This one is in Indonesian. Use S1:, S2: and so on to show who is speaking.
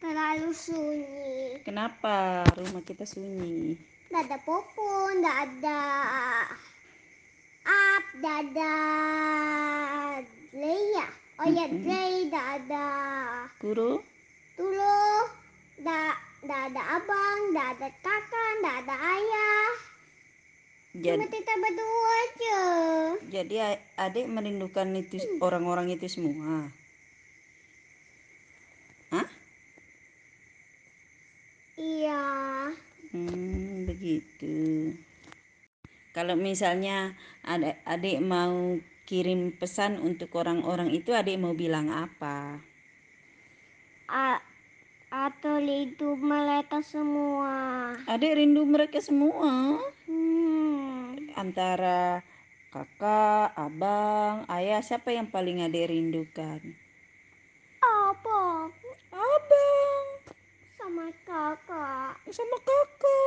S1: terlalu sunyi.
S2: Kenapa rumah kita sunyi?
S1: Nggak ada popon, nggak ada up, nggak ada Lea. ya. Oh ya,
S2: Mm-mm.
S1: Dre, nggak ada
S2: Guru?
S1: Tulo, nggak nggak ada abang, nggak ada kakak, nggak ada ayah. Cuma
S2: Jadi,
S1: kita berdua aja.
S2: jadi a- adik merindukan itu orang-orang itu semua. Hah?
S1: Iya.
S2: Hmm, begitu. Kalau misalnya adik, adik mau kirim pesan untuk orang-orang itu, adik mau bilang apa?
S1: A- atau itu mereka semua.
S2: Adik rindu mereka semua.
S1: Hmm.
S2: Antara kakak, abang, ayah, siapa yang paling adik rindukan?
S1: Apa?
S2: Abang
S1: Sama kakak.
S2: sama kakak.